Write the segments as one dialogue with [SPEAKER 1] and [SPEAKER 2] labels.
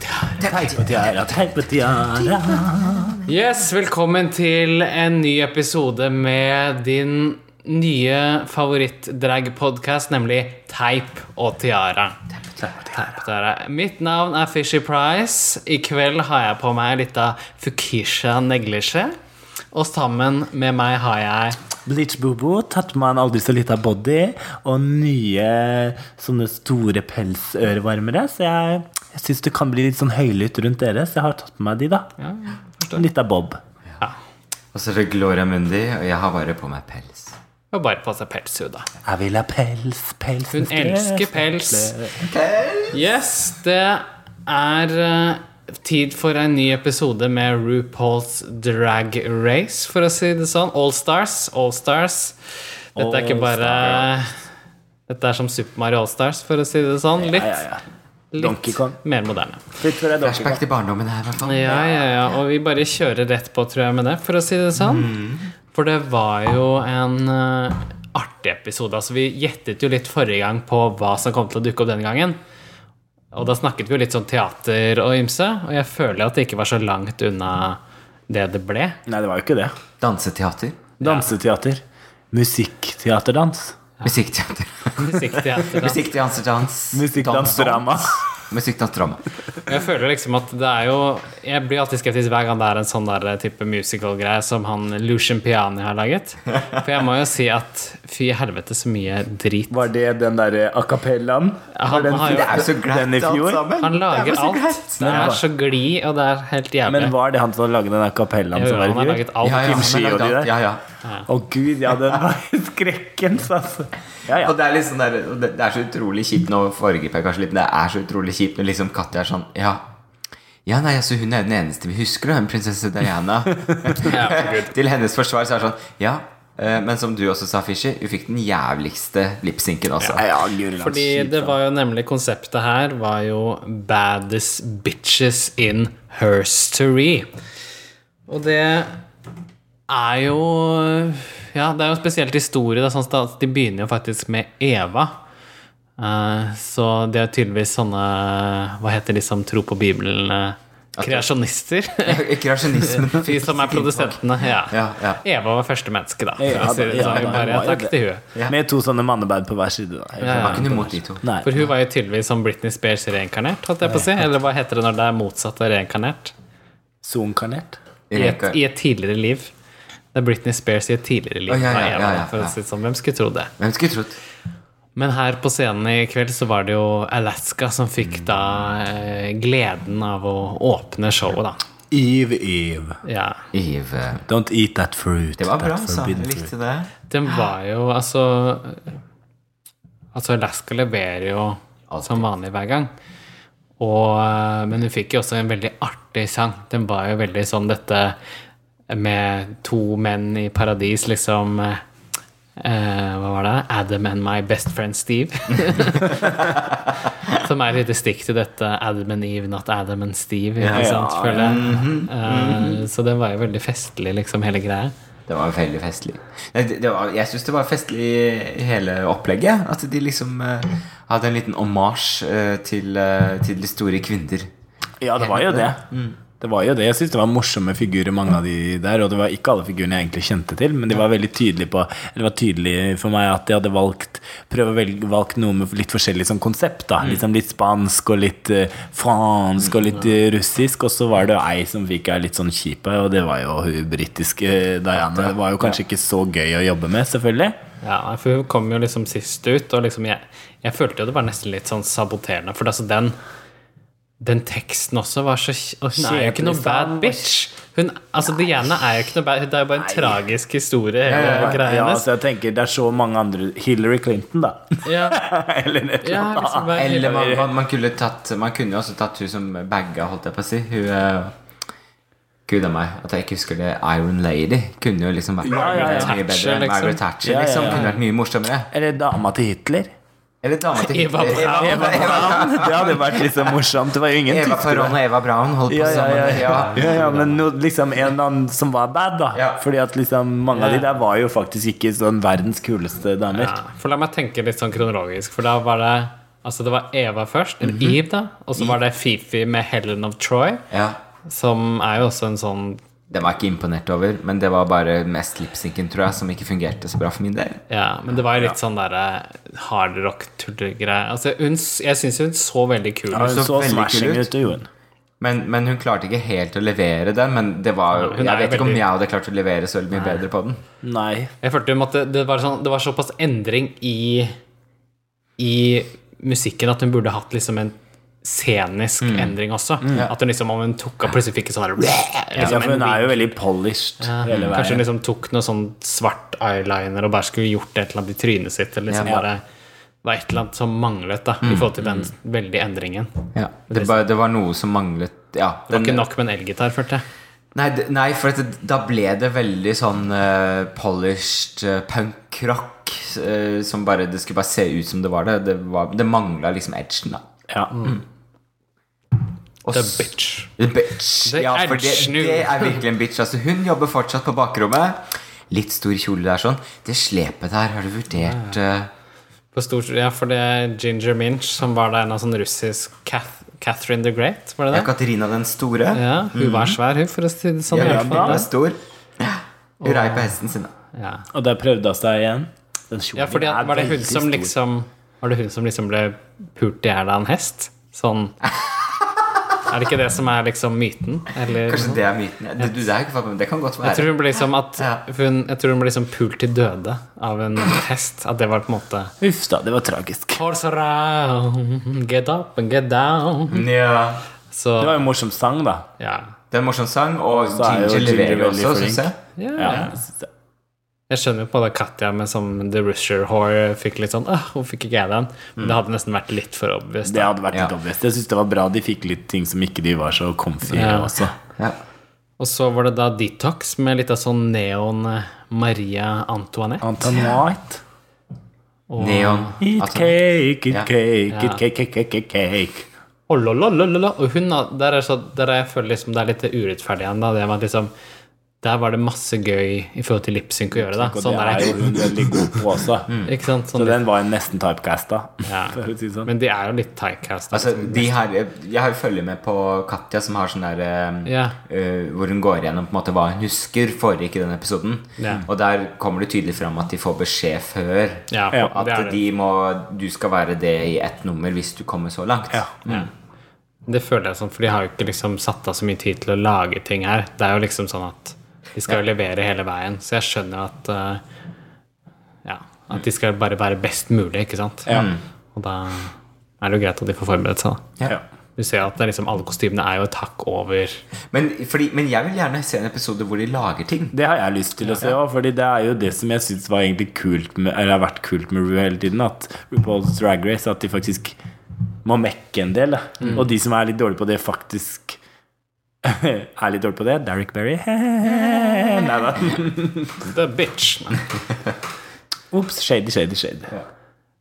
[SPEAKER 1] Teip på tiara, teip på tiara.
[SPEAKER 2] Yes, velkommen til en ny episode med din nye favoritt-drag-podcast, nemlig Teip og tiara.
[SPEAKER 1] Teip på tiara.
[SPEAKER 2] Der er- Mitt navn er Fishy Price. I kveld har jeg på meg litt av Fukisha neglisje. Og sammen med meg har jeg
[SPEAKER 1] Bleach Bobo, tatt med en aldri så lita body og nye sånne store pelsørevarmere. Så jeg, jeg syns det kan bli litt sånn høylytt rundt dere, så jeg har tatt på meg de, da.
[SPEAKER 2] ja,
[SPEAKER 1] En lita bob.
[SPEAKER 3] Og så er det Gloria Mundi, og jeg har bare på meg pels.
[SPEAKER 2] og bare på seg pelshud, da.
[SPEAKER 1] Jeg vil ha pels, pels
[SPEAKER 2] Hun elsker pels. Yes, det er eh, tid for en ny episode med RuPaul's Drag Race, for å si det sånn. All Stars, All Stars. Dette er ikke bare Dette er som Super Mario All Stars, for å si det sånn. Litt,
[SPEAKER 1] Ja, ja, ja. Donkey
[SPEAKER 2] litt
[SPEAKER 1] Kong.
[SPEAKER 2] mer moderne.
[SPEAKER 1] Fritt for deg, Donkey Kong.
[SPEAKER 3] Flashback til barndommen her, i hvert fall.
[SPEAKER 2] Ja, ja, ja. Og vi bare kjører rett på, tror jeg, med det, for å si det sånn. For det var jo en eh, artig episode. Altså, vi gjettet jo litt forrige gang på hva som kom til å dukke opp denne gangen. Og da snakket vi jo litt sånn teater og ymse, og jeg føler at det ikke var så langt unna det det ble.
[SPEAKER 1] Nei, det var jo ikke det.
[SPEAKER 3] Danseteater.
[SPEAKER 1] Danseteater. Musikkteaterdans.
[SPEAKER 3] Musikkteater.
[SPEAKER 2] Musikkteater. da.
[SPEAKER 3] Musikkdanserdans.
[SPEAKER 1] Musikkdansdrama.
[SPEAKER 3] Musikkdansdrama.
[SPEAKER 2] Jeg føler liksom at det er jo Jeg blir alltid skeptisk hver gang det er en sånn der type musical-greie som han Lucian Piani har laget. For jeg må jo si at fy helvete så mye drit
[SPEAKER 1] Var det den derre a cappellaen?
[SPEAKER 2] Ja,
[SPEAKER 1] Var
[SPEAKER 2] han
[SPEAKER 1] den-
[SPEAKER 2] har jo-
[SPEAKER 3] Det er jo så glatt
[SPEAKER 1] Den i fjor?
[SPEAKER 3] alt sammen.
[SPEAKER 2] Han
[SPEAKER 3] Det
[SPEAKER 2] lager
[SPEAKER 3] er jo så
[SPEAKER 2] alt.
[SPEAKER 3] glatt.
[SPEAKER 2] Det
[SPEAKER 1] Men
[SPEAKER 2] er
[SPEAKER 1] hva-
[SPEAKER 2] så gli, og det er helt jævlig.
[SPEAKER 1] Men var det han som lagde den a cappellaen
[SPEAKER 2] Jeg
[SPEAKER 1] som
[SPEAKER 2] hører
[SPEAKER 1] var
[SPEAKER 2] han har
[SPEAKER 1] i
[SPEAKER 2] laget
[SPEAKER 1] fjor?
[SPEAKER 2] alt.
[SPEAKER 3] Ja, ja,
[SPEAKER 1] Kim
[SPEAKER 3] han har
[SPEAKER 1] Ski og
[SPEAKER 3] lagd
[SPEAKER 1] de
[SPEAKER 3] alt.
[SPEAKER 1] der.
[SPEAKER 3] ja, ja.
[SPEAKER 1] Å gud, ja, den var skrekkens, altså. Ja, ja.
[SPEAKER 3] Og det er litt sånn der, og det, det er så utrolig kjipt Nå foregriper jeg kanskje litt, men det er så utrolig kjipt når liksom Katja er sånn Ja, ja nei, altså hun er den eneste vi husker, og hun prinsesse Diana. Til hennes forsvar så er det sånn Ja, eh, men som du også sa, Fishy, hun fikk den jævligste lipsynken også.
[SPEAKER 1] Ja, ja, guri land,
[SPEAKER 2] Fordi
[SPEAKER 1] kjipt,
[SPEAKER 2] det
[SPEAKER 1] da.
[SPEAKER 2] var jo nemlig konseptet her var jo 'baddest bitches in herstory'. Og det er jo Ja, det er jo en spesielt historie. Da, sånn at de begynner jo faktisk med Eva. Eh, så de er tydeligvis sånne Hva heter de som tror på Bibelen? eh, Kreasjonister?
[SPEAKER 3] Kreasjonismen.
[SPEAKER 2] De som er produsentene. Ja.
[SPEAKER 3] Ja, ja.
[SPEAKER 2] Eva var første menneske, da.
[SPEAKER 1] Ja,
[SPEAKER 2] for å si det
[SPEAKER 1] ja, ja,
[SPEAKER 2] sånn. Vi bare
[SPEAKER 1] ja,
[SPEAKER 2] Takk
[SPEAKER 1] ja.
[SPEAKER 2] til hun
[SPEAKER 3] Ja.
[SPEAKER 1] Med to sånne manneband på hver side. Da.
[SPEAKER 2] ja.
[SPEAKER 3] Jeg var ikke noe imot de to.
[SPEAKER 1] Nei.
[SPEAKER 2] For hun var jo tydeligvis som Britney Spears reinkarnert, holdt jeg på å si. Eller hva heter det når det er motsatt av reinkarnert?
[SPEAKER 1] Zoomkarnert.
[SPEAKER 2] I et,
[SPEAKER 3] Reinka-
[SPEAKER 2] I et tidligere liv. Det er Britney Spears i et tidligere liv.
[SPEAKER 3] Å, ja,
[SPEAKER 2] da,
[SPEAKER 3] ja,
[SPEAKER 2] Eva,
[SPEAKER 3] ja, ja,
[SPEAKER 2] for å
[SPEAKER 3] ja.
[SPEAKER 2] si det sånn. Hvem skulle tro det?
[SPEAKER 3] Hvem skulle trodd?
[SPEAKER 2] Men her på scenen i kveld så var det jo Alaska som fikk da eh, gleden av å åpne showet, da.
[SPEAKER 1] Eve, Eve.
[SPEAKER 2] Ja.
[SPEAKER 3] Eve.
[SPEAKER 1] Don't eat that fruit.
[SPEAKER 3] Det var bra,
[SPEAKER 1] that
[SPEAKER 3] altså.
[SPEAKER 1] forbidden
[SPEAKER 3] Jeg
[SPEAKER 1] fruit.
[SPEAKER 3] likte det.
[SPEAKER 2] Den var jo altså Altså, Alaska leverer jo som vanlig hver gang. Og, eh, men hun fikk jo også en veldig artig sang. Den var jo veldig sånn dette med to menn i paradis, liksom eh, eh, Hva var det? Adam and my best friend Steve. Som er et lite stikk til dette Adam and Eve, not Adam and Steve. Ikke
[SPEAKER 1] ja.
[SPEAKER 2] sant, føler jeg. Eh, så den var jo veldig festlig, liksom, hele greia.
[SPEAKER 3] Det var veldig festlig. Nei, det, det var, jeg syns det var festlig i hele opplegget. At de liksom eh, hadde en liten omasj eh, til, eh, til de store kvinner.
[SPEAKER 1] Ja, det var jo det.
[SPEAKER 2] Mm.
[SPEAKER 1] Det var jo det. Jeg syns det var morsomme figurer, mange av de der. Og det var ikke alle figurene jeg egentlig kjente til, men de var veldig tydelige på Eller det var tydelig for meg at de hadde valgt prøvd å velge valgt noe med litt forskjellig sånn konsept. da
[SPEAKER 2] Mm.
[SPEAKER 1] liksom Litt spansk og litt eh, fransk og litt eh, russisk. Og så var det jo ei som fikk ei litt sånn kjipe, og det var jo hun britiske eh, Diana. Det var jo kanskje ikke så gøy å jobbe med, selvfølgelig.
[SPEAKER 2] Ja, for hun kom jo liksom sist ut, og liksom jeg, jeg følte jo det var nesten litt sånn saboterende, for altså den den teksten også var så kj- og Hun er jo ikke noe
[SPEAKER 1] Kjedelig
[SPEAKER 2] bad
[SPEAKER 1] sang.
[SPEAKER 2] bitch. Hun, altså Diana er jo ikke noe bad Det er jo bare en tragisk historie, hele greia
[SPEAKER 1] Ja,
[SPEAKER 2] hennes.
[SPEAKER 1] så jeg tenker Det er så mange andre Hillary Clinton, da.
[SPEAKER 2] Ja,
[SPEAKER 1] Eller et eller
[SPEAKER 2] ja,
[SPEAKER 1] annet.
[SPEAKER 2] liksom bare
[SPEAKER 3] Eller
[SPEAKER 2] hele-
[SPEAKER 3] man, man, man, kunne tatt, man kunne jo også tatt hun som bagga, holdt jeg på å si. Hun eh, Gud a meg, at jeg ikke husker det. Iron Lady kunne jo liksom vært
[SPEAKER 1] ja, ja.
[SPEAKER 3] mye bedre.
[SPEAKER 2] Thatcher, liksom.
[SPEAKER 3] Margaret Thatcher
[SPEAKER 1] Ja, ja,
[SPEAKER 3] liksom.
[SPEAKER 1] ja.
[SPEAKER 3] Kunne vært mye morsommere.
[SPEAKER 1] Eller dama til Hitler.
[SPEAKER 3] Eller dama til
[SPEAKER 2] Eva
[SPEAKER 3] Hitler.
[SPEAKER 2] Braun.
[SPEAKER 3] Eva, Eva,
[SPEAKER 1] Det hadde vært liksom morsomt. Det var jo ingen
[SPEAKER 3] Eva
[SPEAKER 1] tyskere.
[SPEAKER 3] Perón og Eva Braun holdt på
[SPEAKER 1] Ja, ja,
[SPEAKER 3] sammen.
[SPEAKER 1] ja, ja.
[SPEAKER 3] Ja.
[SPEAKER 1] ja, ja, men no, liksom en eller annen som var bad, da.
[SPEAKER 3] Ja.
[SPEAKER 1] Fordi at liksom mange av de der var jo faktisk ikke sånn verdens kuleste damer.
[SPEAKER 2] ja, For la meg tenke litt sånn kronologisk, for da var det Altså det var Eva først, eller Eve, da. Og så var det Fifi med Helen of Troy,
[SPEAKER 3] Ja.
[SPEAKER 2] som er jo også en sånn
[SPEAKER 3] Den var jeg ikke imponert over, men det var bare mest lipsynken, tror jeg, som ikke fungerte så bra for min del.
[SPEAKER 2] Ja, men det var jo litt sånn derre hardrock-tullegreie. Altså, hun, s- jeg syns hun så veldig kul
[SPEAKER 1] Ja,
[SPEAKER 2] ut.
[SPEAKER 1] hun
[SPEAKER 3] så
[SPEAKER 1] så,
[SPEAKER 3] veldig
[SPEAKER 1] smashing
[SPEAKER 3] kul ut.
[SPEAKER 1] ut, det gjorde hun.
[SPEAKER 3] Men, men hun klarte ikke helt å levere den. Men det var,
[SPEAKER 2] hun
[SPEAKER 3] jeg
[SPEAKER 2] er
[SPEAKER 3] vet ikke om
[SPEAKER 2] veldig-
[SPEAKER 3] jeg hadde klart å levere så veldig mye bedre på den.
[SPEAKER 1] Nei.
[SPEAKER 2] Jeg følte hun måtte, det, var sånn, det var såpass endring i, i musikken at hun burde hatt liksom en scenisk
[SPEAKER 1] Mm.
[SPEAKER 2] endring også. At hun liksom, om hun tok av plutselig fikk en sånn der,
[SPEAKER 1] Ja,
[SPEAKER 2] liksom
[SPEAKER 1] Altså, for
[SPEAKER 2] en
[SPEAKER 1] hun er jo veldig polished hele veien.
[SPEAKER 2] Kanskje hun liksom tok noe sånn svart eyeliner og bare skulle gjort et eller annet i trynet sitt. Eller liksom
[SPEAKER 1] Ja. Mm.
[SPEAKER 2] bare, det var et eller annet som manglet da, i forhold til den veldige endringen. Det
[SPEAKER 3] Ja, det, bare, det var noe som manglet. Ja,
[SPEAKER 2] var
[SPEAKER 3] den,
[SPEAKER 2] ikke nok med en elgitar, følte jeg.
[SPEAKER 3] Nei, d- nei, for at det, da ble det veldig sånn eh, polished eh, punk-rock. eh, som bare, det skulle bare se ut som det var det. Det, var- det mangla liksom edgen, da.
[SPEAKER 1] Ja.
[SPEAKER 2] Mm.
[SPEAKER 3] Og
[SPEAKER 2] The
[SPEAKER 3] s-
[SPEAKER 2] bitch.
[SPEAKER 3] The bitch.
[SPEAKER 2] The
[SPEAKER 3] ja, for det,
[SPEAKER 2] edgen.
[SPEAKER 3] det er virkelig en bitch. Altså, hun jobber fortsatt på bakrommet. Litt stor kjole der, sånn. Det slepet der, har du vurdert eh,
[SPEAKER 2] På stor, ja, for det er Ginger Minch, som var da en av sånn russisk Kath, Catherine the Great, var det
[SPEAKER 3] Ja,
[SPEAKER 2] det?
[SPEAKER 3] Katarina den store?
[SPEAKER 2] Ja, hun var svær, hun, for å si det sånn.
[SPEAKER 3] Ja,
[SPEAKER 2] i
[SPEAKER 3] ja,
[SPEAKER 2] hvert fall.
[SPEAKER 3] den er stor. Hun rei på hesten sin. da.
[SPEAKER 2] Ja.
[SPEAKER 1] Og der prøvde hun seg igjen. Den kjolen
[SPEAKER 2] Ja, fordi at,
[SPEAKER 1] er
[SPEAKER 2] var det hun
[SPEAKER 1] veldig
[SPEAKER 2] som
[SPEAKER 1] stor.
[SPEAKER 2] liksom Var det hun som liksom ble pult i hjel av en hest? Sånn Er det ikke det som er liksom myten? Eller
[SPEAKER 3] Kanskje det er myten. Det, du, det, er ikke, men det kan godt
[SPEAKER 2] Jeg tror
[SPEAKER 3] være.
[SPEAKER 2] hun ble liksom at
[SPEAKER 3] Ja.
[SPEAKER 2] for hun, Jeg tror hun ble liksom pult til døde av en hest. At det var på en måte
[SPEAKER 1] Uff da, det var tragisk.
[SPEAKER 2] Horse around, get up and get down.
[SPEAKER 3] Ja.
[SPEAKER 2] Så
[SPEAKER 1] Det var jo en morsom sang, da.
[SPEAKER 2] ja.
[SPEAKER 3] Det er en morsom sang, og
[SPEAKER 1] så er jo Ginger
[SPEAKER 3] Ginger leverer jo
[SPEAKER 1] veldig
[SPEAKER 3] også,
[SPEAKER 1] flink.
[SPEAKER 3] syns jeg.
[SPEAKER 2] Ja.
[SPEAKER 1] Ja, jeg synes det.
[SPEAKER 2] Jeg skjønner jo på det Katja med som The Rusher Whore fikk litt sånn Åh, hvorfor fikk ikke jeg den? Men
[SPEAKER 1] Mm.
[SPEAKER 2] det hadde nesten vært litt for obvious.
[SPEAKER 1] det hadde vært
[SPEAKER 3] Ja.
[SPEAKER 1] litt obvious. Jeg syns det var bra de fikk litt ting som ikke de var så comfy
[SPEAKER 2] Ja.
[SPEAKER 1] også.
[SPEAKER 3] Ja.
[SPEAKER 2] Og så var det da Detox med litt av sånn neon eh, Maria Antoinette.
[SPEAKER 1] Anton White.
[SPEAKER 2] Og
[SPEAKER 3] Neon.
[SPEAKER 1] Eat
[SPEAKER 3] Altså,
[SPEAKER 1] cake, eat
[SPEAKER 3] Ja.
[SPEAKER 1] cake,
[SPEAKER 2] Ja.
[SPEAKER 1] eat cake, cake, cake, cake, cake.
[SPEAKER 2] Olololololo. Og hun, da, der er så, der er jeg føler liksom det er litt urettferdig igjen, da. Det med at liksom Der var det masse gøy i forhold til lipsync å gjøre, da.
[SPEAKER 1] Og
[SPEAKER 2] Sånn
[SPEAKER 1] det er jo
[SPEAKER 2] er det.
[SPEAKER 1] hun veldig god på også.
[SPEAKER 2] Ikke sant?
[SPEAKER 1] Så
[SPEAKER 2] Sånn,
[SPEAKER 1] den var jo nesten typecasta,
[SPEAKER 2] ja.
[SPEAKER 1] for å si det sånn.
[SPEAKER 2] Men de er jo litt typecast.
[SPEAKER 3] altså, de her, jeg har jo følger med på Katja, som har sånn der eh,
[SPEAKER 2] Ja.
[SPEAKER 3] eh, Hvor hun går gjennom på en måte hva hun husker foregikk i den episoden.
[SPEAKER 2] Ja.
[SPEAKER 3] Og der kommer det tydelig fram at de får beskjed før.
[SPEAKER 2] Ja,
[SPEAKER 1] Ja.
[SPEAKER 2] det
[SPEAKER 3] At
[SPEAKER 2] er det.
[SPEAKER 3] de må, du skal være det i ett nummer hvis du kommer så langt.
[SPEAKER 1] Ja.
[SPEAKER 2] Ja. Det føler jeg sånn, for de har jo ikke liksom satt av så mye tid til å lage ting her. Det er jo liksom sånn at de skal jo levere hele veien, så jeg skjønner jo at eh, Ja, at de skal bare være best mulig, ikke sant? Og da er det jo greit at de får forberedt seg, da.
[SPEAKER 3] Ja.
[SPEAKER 1] Ja.
[SPEAKER 2] Du ser jo at det er liksom, alle kostymene er jo et hakk over
[SPEAKER 3] Men, fordi, men jeg vil gjerne se en episode hvor de lager ting.
[SPEAKER 1] Det har jeg lyst til å se òg, Fordi det er jo det som jeg syns var egentlig kult med, Eller har vært kult med Ru hele tiden. At RuPaul's Drag Race At de faktisk må mekke en del. da.
[SPEAKER 2] Mm.
[SPEAKER 1] Og de som er litt dårlige på det, faktisk er litt dårlige på det. Derrick Berry Nei da.
[SPEAKER 2] The bitch!
[SPEAKER 1] Ops. Shady, shady, shady.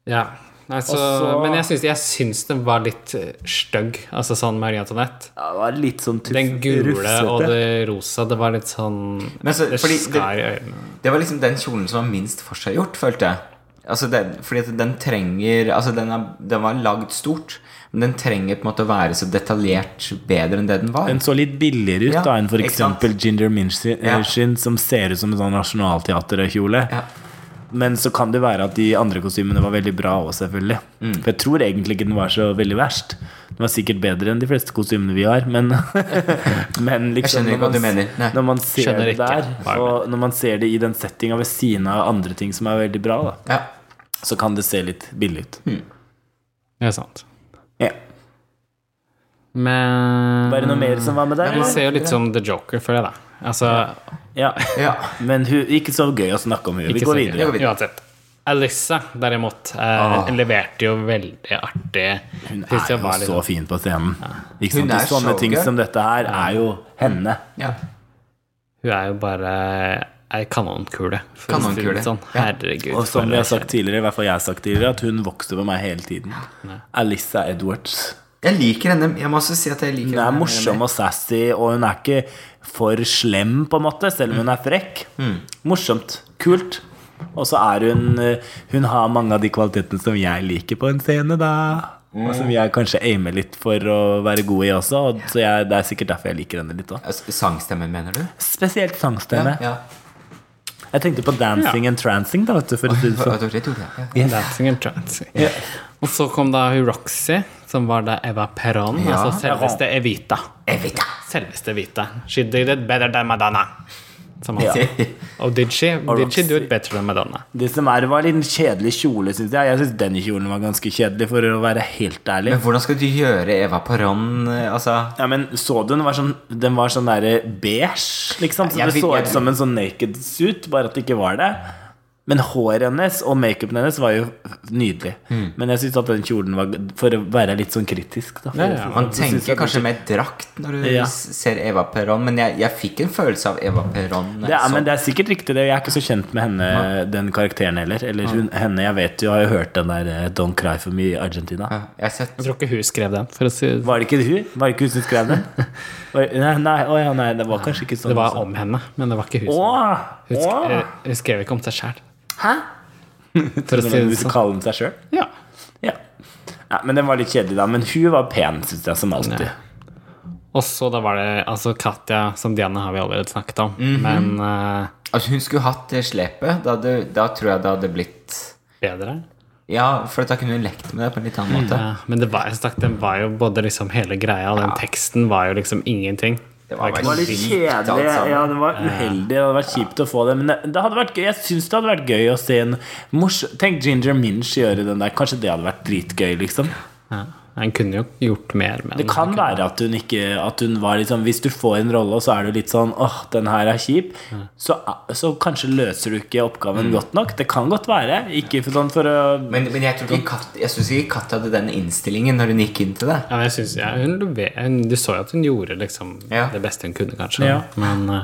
[SPEAKER 2] Ja. Nei, så,
[SPEAKER 1] Og så-
[SPEAKER 2] men jeg syns, jeg syns den var litt eh, stygg, altså sånn Marie Antoinette.
[SPEAKER 1] Ja, det var litt sånn tuff,
[SPEAKER 2] Den gule
[SPEAKER 1] rufsete.
[SPEAKER 2] og det rosa, det var litt sånn
[SPEAKER 3] Men altså,
[SPEAKER 2] Det
[SPEAKER 3] fordi det-
[SPEAKER 2] skar i øynene.
[SPEAKER 3] Det var liksom den kjolen som var minst forseggjort, følte jeg. Altså den, fordi at den trenger Altså den, er, den var lagd stort, men den trenger på en måte å være så detaljert bedre enn det den var.
[SPEAKER 1] Den så litt billigere ut
[SPEAKER 3] Ja,
[SPEAKER 1] da enn for
[SPEAKER 3] ikke sant?
[SPEAKER 1] eksempel Ginger Minch sin,
[SPEAKER 3] Ja.
[SPEAKER 1] eh, sin, som ser ut som en sånn nasjonalteaterkjole.
[SPEAKER 3] Ja.
[SPEAKER 1] Men så kan det være at de andre kostymene var veldig bra òg, selvfølgelig.
[SPEAKER 3] Mm.
[SPEAKER 1] For jeg tror egentlig ikke den var så veldig verst. Den var sikkert bedre enn de fleste kostymene vi har, men, men liksom,
[SPEAKER 3] skjønner ikke
[SPEAKER 1] når
[SPEAKER 3] hva du
[SPEAKER 1] man-
[SPEAKER 3] mener. Nei.
[SPEAKER 1] Når man ser
[SPEAKER 2] Skjønner
[SPEAKER 1] det
[SPEAKER 2] ikke
[SPEAKER 1] der,
[SPEAKER 2] hva jeg
[SPEAKER 1] og når man ser det i den settinga ved siden av andre ting som er veldig bra, da,
[SPEAKER 3] Ja.
[SPEAKER 1] så kan det se litt billig ut.
[SPEAKER 3] Mm.
[SPEAKER 2] Det er sant.
[SPEAKER 1] Ja.
[SPEAKER 2] Men
[SPEAKER 1] Var det noe mer som var med der?
[SPEAKER 2] Vi
[SPEAKER 1] eller?
[SPEAKER 2] ser jo litt som The Joker, føler jeg, da. Altså,
[SPEAKER 1] Ja.
[SPEAKER 3] ja.
[SPEAKER 1] Men hun, ikke så gøy å snakke om henne. Vi
[SPEAKER 2] ikke
[SPEAKER 1] går
[SPEAKER 2] så-
[SPEAKER 1] videre.
[SPEAKER 3] går videre.
[SPEAKER 2] Uansett. Alyssa, derimot, eh,
[SPEAKER 3] Ah.
[SPEAKER 2] leverte jo veldig artig.
[SPEAKER 1] Hun
[SPEAKER 2] Synes
[SPEAKER 1] er
[SPEAKER 2] jeg var
[SPEAKER 1] jo
[SPEAKER 2] litt-
[SPEAKER 1] så fin på scenen. Ikke
[SPEAKER 3] Hun
[SPEAKER 1] sant? De
[SPEAKER 3] er
[SPEAKER 1] sånne
[SPEAKER 3] showgirl.
[SPEAKER 1] ting som dette her er jo henne.
[SPEAKER 3] ja.
[SPEAKER 2] Hun er jo bare eh, ei kanonkule. for å si det
[SPEAKER 3] Kanonkule.
[SPEAKER 2] Sånn. Herregud.
[SPEAKER 1] Og som
[SPEAKER 2] for
[SPEAKER 1] vi har
[SPEAKER 2] en-
[SPEAKER 1] sagt tidligere, i hvert fall jeg har sagt tidligere, at hun vokste på meg hele tiden. Alissa Edwards.
[SPEAKER 3] Jeg liker henne. Jeg må også si at jeg liker
[SPEAKER 1] Hun er morsom og sassy, og hun er ikke for slem, på en måte, selv om hun er frekk. Morsomt. Kult. Og så er hun eh, Hun har mange av de kvalitetene som jeg liker på en scene, da. Og som jeg kanskje aimer litt for å være god i også. Og så jeg, det er sikkert derfor jeg liker henne litt òg.
[SPEAKER 3] S- Sangstemmen, mener du?
[SPEAKER 1] Spesielt sangstemme.
[SPEAKER 3] ja.
[SPEAKER 1] Jeg tenkte på dancing and trancing, da, vet du. For å si det
[SPEAKER 3] Hva-
[SPEAKER 1] sånn.
[SPEAKER 3] det var det jeg tok, ja.
[SPEAKER 2] Dancing and Trancing. Og så kom da hun Roxy, som var da Eva Perón.
[SPEAKER 3] Ja.
[SPEAKER 2] Altså selveste Evita.
[SPEAKER 3] Evita!
[SPEAKER 2] Selveste Evita. She did it better than Madonna. Som han sa. Og did she? Did she do it better than Madonna?
[SPEAKER 1] Det som er, var litt kjedelig kjole, syns jeg. Jeg syns den kjolen var ganske kjedelig, for å være helt ærlig.
[SPEAKER 3] Men hvordan skal du gjøre Eva Paron eh, Altså
[SPEAKER 1] Ja, men så du den var sånn, den var sånn der beige, liksom? Så
[SPEAKER 3] Jeg
[SPEAKER 1] det
[SPEAKER 3] fikk-
[SPEAKER 1] så
[SPEAKER 3] jeg-
[SPEAKER 1] ut som en sånn naked suit, bare at det ikke var det. Men håret hennes og makeupen hennes var jo nydelig.
[SPEAKER 3] Mm.
[SPEAKER 1] Men jeg syns at den kjolen var For å være litt sånn kritisk, da.
[SPEAKER 2] Ja, ja.
[SPEAKER 3] Man
[SPEAKER 1] Så synes
[SPEAKER 3] tenker
[SPEAKER 1] jeg
[SPEAKER 3] kanskje mer drakt når du
[SPEAKER 1] Ja.
[SPEAKER 3] s- ser Eva Perón, men jeg, jeg fikk en følelse av Eva Perón. eh,
[SPEAKER 1] Det er, men det er sikkert riktig, det. Jeg er ikke så kjent med henne, den karakteren heller. Eller hun, henne, jeg vet jo, jeg har jo hørt den der eh, 'Don't cry for me' i Argentina.
[SPEAKER 3] Ja, jeg har sett
[SPEAKER 2] Jeg tror ikke hun skrev den. For å si
[SPEAKER 1] Var det ikke hun? Var det ikke hun som skrev den? Var, nei, nei, å ja, nei, det var kanskje ikke sånn.
[SPEAKER 2] Det var om henne, men det var ikke hun.
[SPEAKER 1] Å!
[SPEAKER 2] som- Hun,
[SPEAKER 1] Å!
[SPEAKER 2] sk eh, hun skrev ikke om seg sjæl.
[SPEAKER 1] Hæ?
[SPEAKER 2] For å si det
[SPEAKER 1] Hvis du
[SPEAKER 2] sånn.
[SPEAKER 1] kaller den seg sjøl?
[SPEAKER 2] Ja.
[SPEAKER 1] Ja. ja. Men den var litt kjedelig, da. Men hun var pen, syns jeg, som alltid.
[SPEAKER 2] Ja. Og så da var det altså Katja som Diana har vi allerede snakket om. Men eh,
[SPEAKER 3] Altså, hun skulle hatt det slepet. Da, hadde, da tror jeg det hadde blitt
[SPEAKER 2] bedre.
[SPEAKER 3] Ja, for da kunne hun lekt med det på en litt
[SPEAKER 1] Mm.
[SPEAKER 3] annen måte.
[SPEAKER 2] Ja, men det var, som sagt, den var jo både liksom hele greia, og den teksten var jo liksom ingenting.
[SPEAKER 3] Det var
[SPEAKER 2] ikke
[SPEAKER 1] Det var
[SPEAKER 3] veldig-
[SPEAKER 2] noe-
[SPEAKER 1] litt
[SPEAKER 3] Sykt,
[SPEAKER 1] kjedelig.
[SPEAKER 2] altså.
[SPEAKER 3] alt sammen.
[SPEAKER 1] Ja, det var uheldig. Det hadde vært kjipt å få det. Men det hadde vært gøy. jeg syns det hadde vært gøy å se en mors... Tenk Ginger Minch gjøre den der. Kanskje det hadde vært dritgøy, liksom.
[SPEAKER 2] ja. En kunne jo gjort mer med
[SPEAKER 1] Det
[SPEAKER 2] den.
[SPEAKER 1] kan være at hun ikke at hun var litt sånn, Hvis du får en rolle, og så er du litt sånn åh, den her er kjip, så, så kanskje løser du ikke oppgaven godt nok. Det kan godt være. Ikke for sånn for å
[SPEAKER 3] Men, men jeg tror ikke Kat- jeg syns ikke Katja hadde den innstillingen når hun gikk inn til det.
[SPEAKER 2] Ja, men jeg synes, ja, hun, lever- hun, du så jo at hun gjorde liksom
[SPEAKER 3] Ja.
[SPEAKER 2] det beste hun kunne, kanskje.
[SPEAKER 1] Ja.
[SPEAKER 2] Men eh,